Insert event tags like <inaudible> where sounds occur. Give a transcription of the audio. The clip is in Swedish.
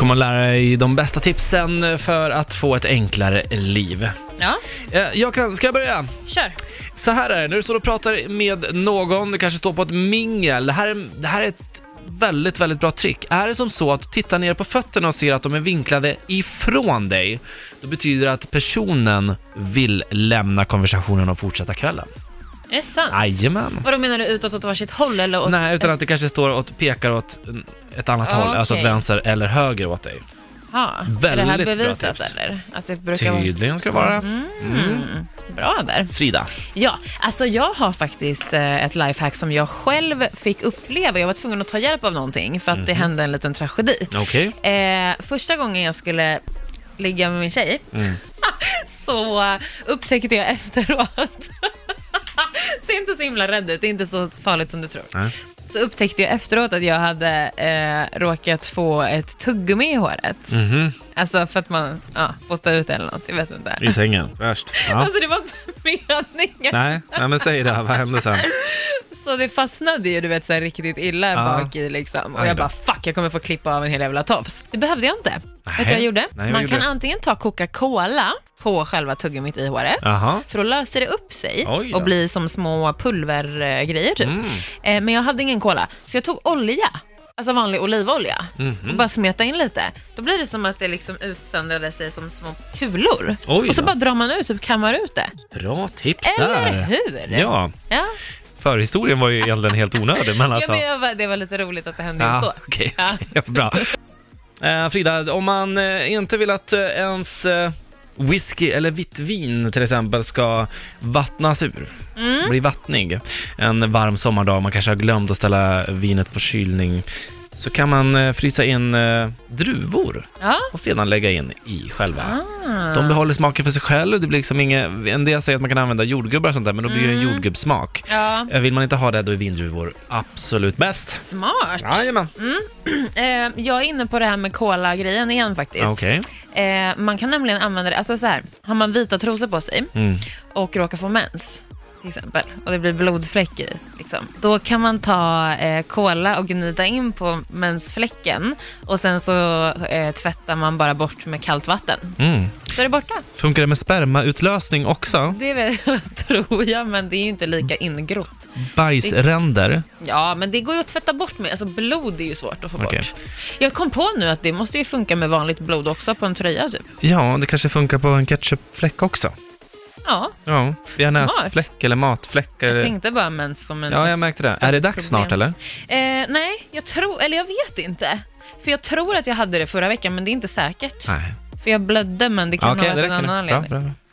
kommer att lära dig de bästa tipsen för att få ett enklare liv. Ja, Eh, Jag kan, ska jag börja? kör. Så här är det, när du står och pratar med någon, du kanske står på ett mingel. Det här är, det här är ett väldigt, väldigt bra trick. Är det som så att du tittar ner på fötterna och ser att de är vinklade ifrån dig, då betyder det att personen vill lämna konversationen och fortsätta kvällen. Är det sant? Jajamän. Vadå menar du utåt åt varsitt håll eller åt Nej, utan att det kanske står och pekar åt mm, ett annat Ja, håll, alltså åt okej. vänster eller höger åt dig. Jaha, Är det Väldigt här bra bevisat tips. eller? Att det brukar vara Tydligen ska det vara. Mm. bra där. Frida. Ja, alltså jag har faktiskt eh, ett lifehack som jag själv fick uppleva. Jag var tvungen att ta hjälp av någonting Mhm. för att det hände en liten tragedi. Okej. Eh, första gången jag skulle ligga med min tjej Mm. <laughs> så eh, upptäckte jag efteråt, <laughs> ser inte så himla rädd ut, det är inte så farligt som du tror. Nej. Så upptäckte jag efteråt att jag hade eh, råkat få ett tuggummi i håret. Mhm. Alltså för att man ja, bottade ut eller något, jag vet inte. I sängen. <laughs> Värst. Ja. Alltså det var inte <laughs> meningen. Nej, nej, men säg det. Vad hände sen? Så det fastnade ju du vet så här riktigt illa Ja. bak i liksom. Aj Och då. jag bara fuck jag kommer få klippa av en hel jävla tofs. Det behövde jag inte. Vet du vad jag gjorde? Nej, vad Man gjorde kan du? antingen ta Coca-Cola på själva tuggummit i håret. Jaha. För då löser det upp sig Oj då. och blir som små pulvergrejer typ. Mm. Eh, Men jag hade ingen cola, så jag tog olja, alltså vanlig olivolja Mhm. och bara smeta in lite. Då blir det som att det liksom utsöndrade sig som små kulor. Oj och så då. bara drar man ut, typ kammar ut det. Bra tips där. Eller hur? Ja, ja. förhistorien var ju egentligen helt onödig, men alltså... Ja, men jag var, det var lite roligt att det hände just då. Ja, okej. Ja. <laughs> Ja, bra. Eh, Frida, om man eh, inte vill att eh, ens eh, whisky eller vitt vin till exempel ska vattnas ur, Mm. bli vattnig, en varm sommardag, man kanske har glömt att ställa vinet på kylning, så kan man eh, frysa in eh, druvor Ja. och sedan lägga in i själva. Ah. De behåller smaken för sig själv, det blir liksom inget, en del säger att man kan använda jordgubbar och sånt där, men då blir det Mm. en jordgubbssmak. ja. Eh, Vill man inte ha det, då är vindruvor absolut bäst. Mm. Smart. Jajamän. Eh, jag är inne på det här med cola-grejen igen faktiskt. Okej. Eh, man kan nämligen använda det, alltså så här, har man vita trosor på sig Mm. och råkar få mens till exempel och det blir blodfläck i, liksom. då kan man ta eh, cola och gnida in på mensfläcken och sen så eh, tvättar man bara bort med kallt vatten. Mm. Så är det borta. Funkar det med spermautlösning också? Det är väl, <laughs> tror jag, men det är ju inte lika ingrott. Bajsränder? Ja, men det går ju att tvätta bort med. Alltså blod är ju svårt att få Okej. bort. Jag kom på nu att det måste ju funka med vanligt blod också på en tröja typ. Ja, det kanske funkar på en ketchupfläck också. Ja, Ja, via Smart. näsfläck eller matfläck. jag Eller... tänkte bara mens som en... Ja, jag märkte det. Är det dags Statsproblem. snart eller? Eh, nej, jag tror, eller jag vet inte. För jag tror att jag hade det förra veckan, men det är inte säkert. Nej. För jag blödde, men det kan Okej, ha det varit en räcker annan nu. Bra, anledning. bra, bra.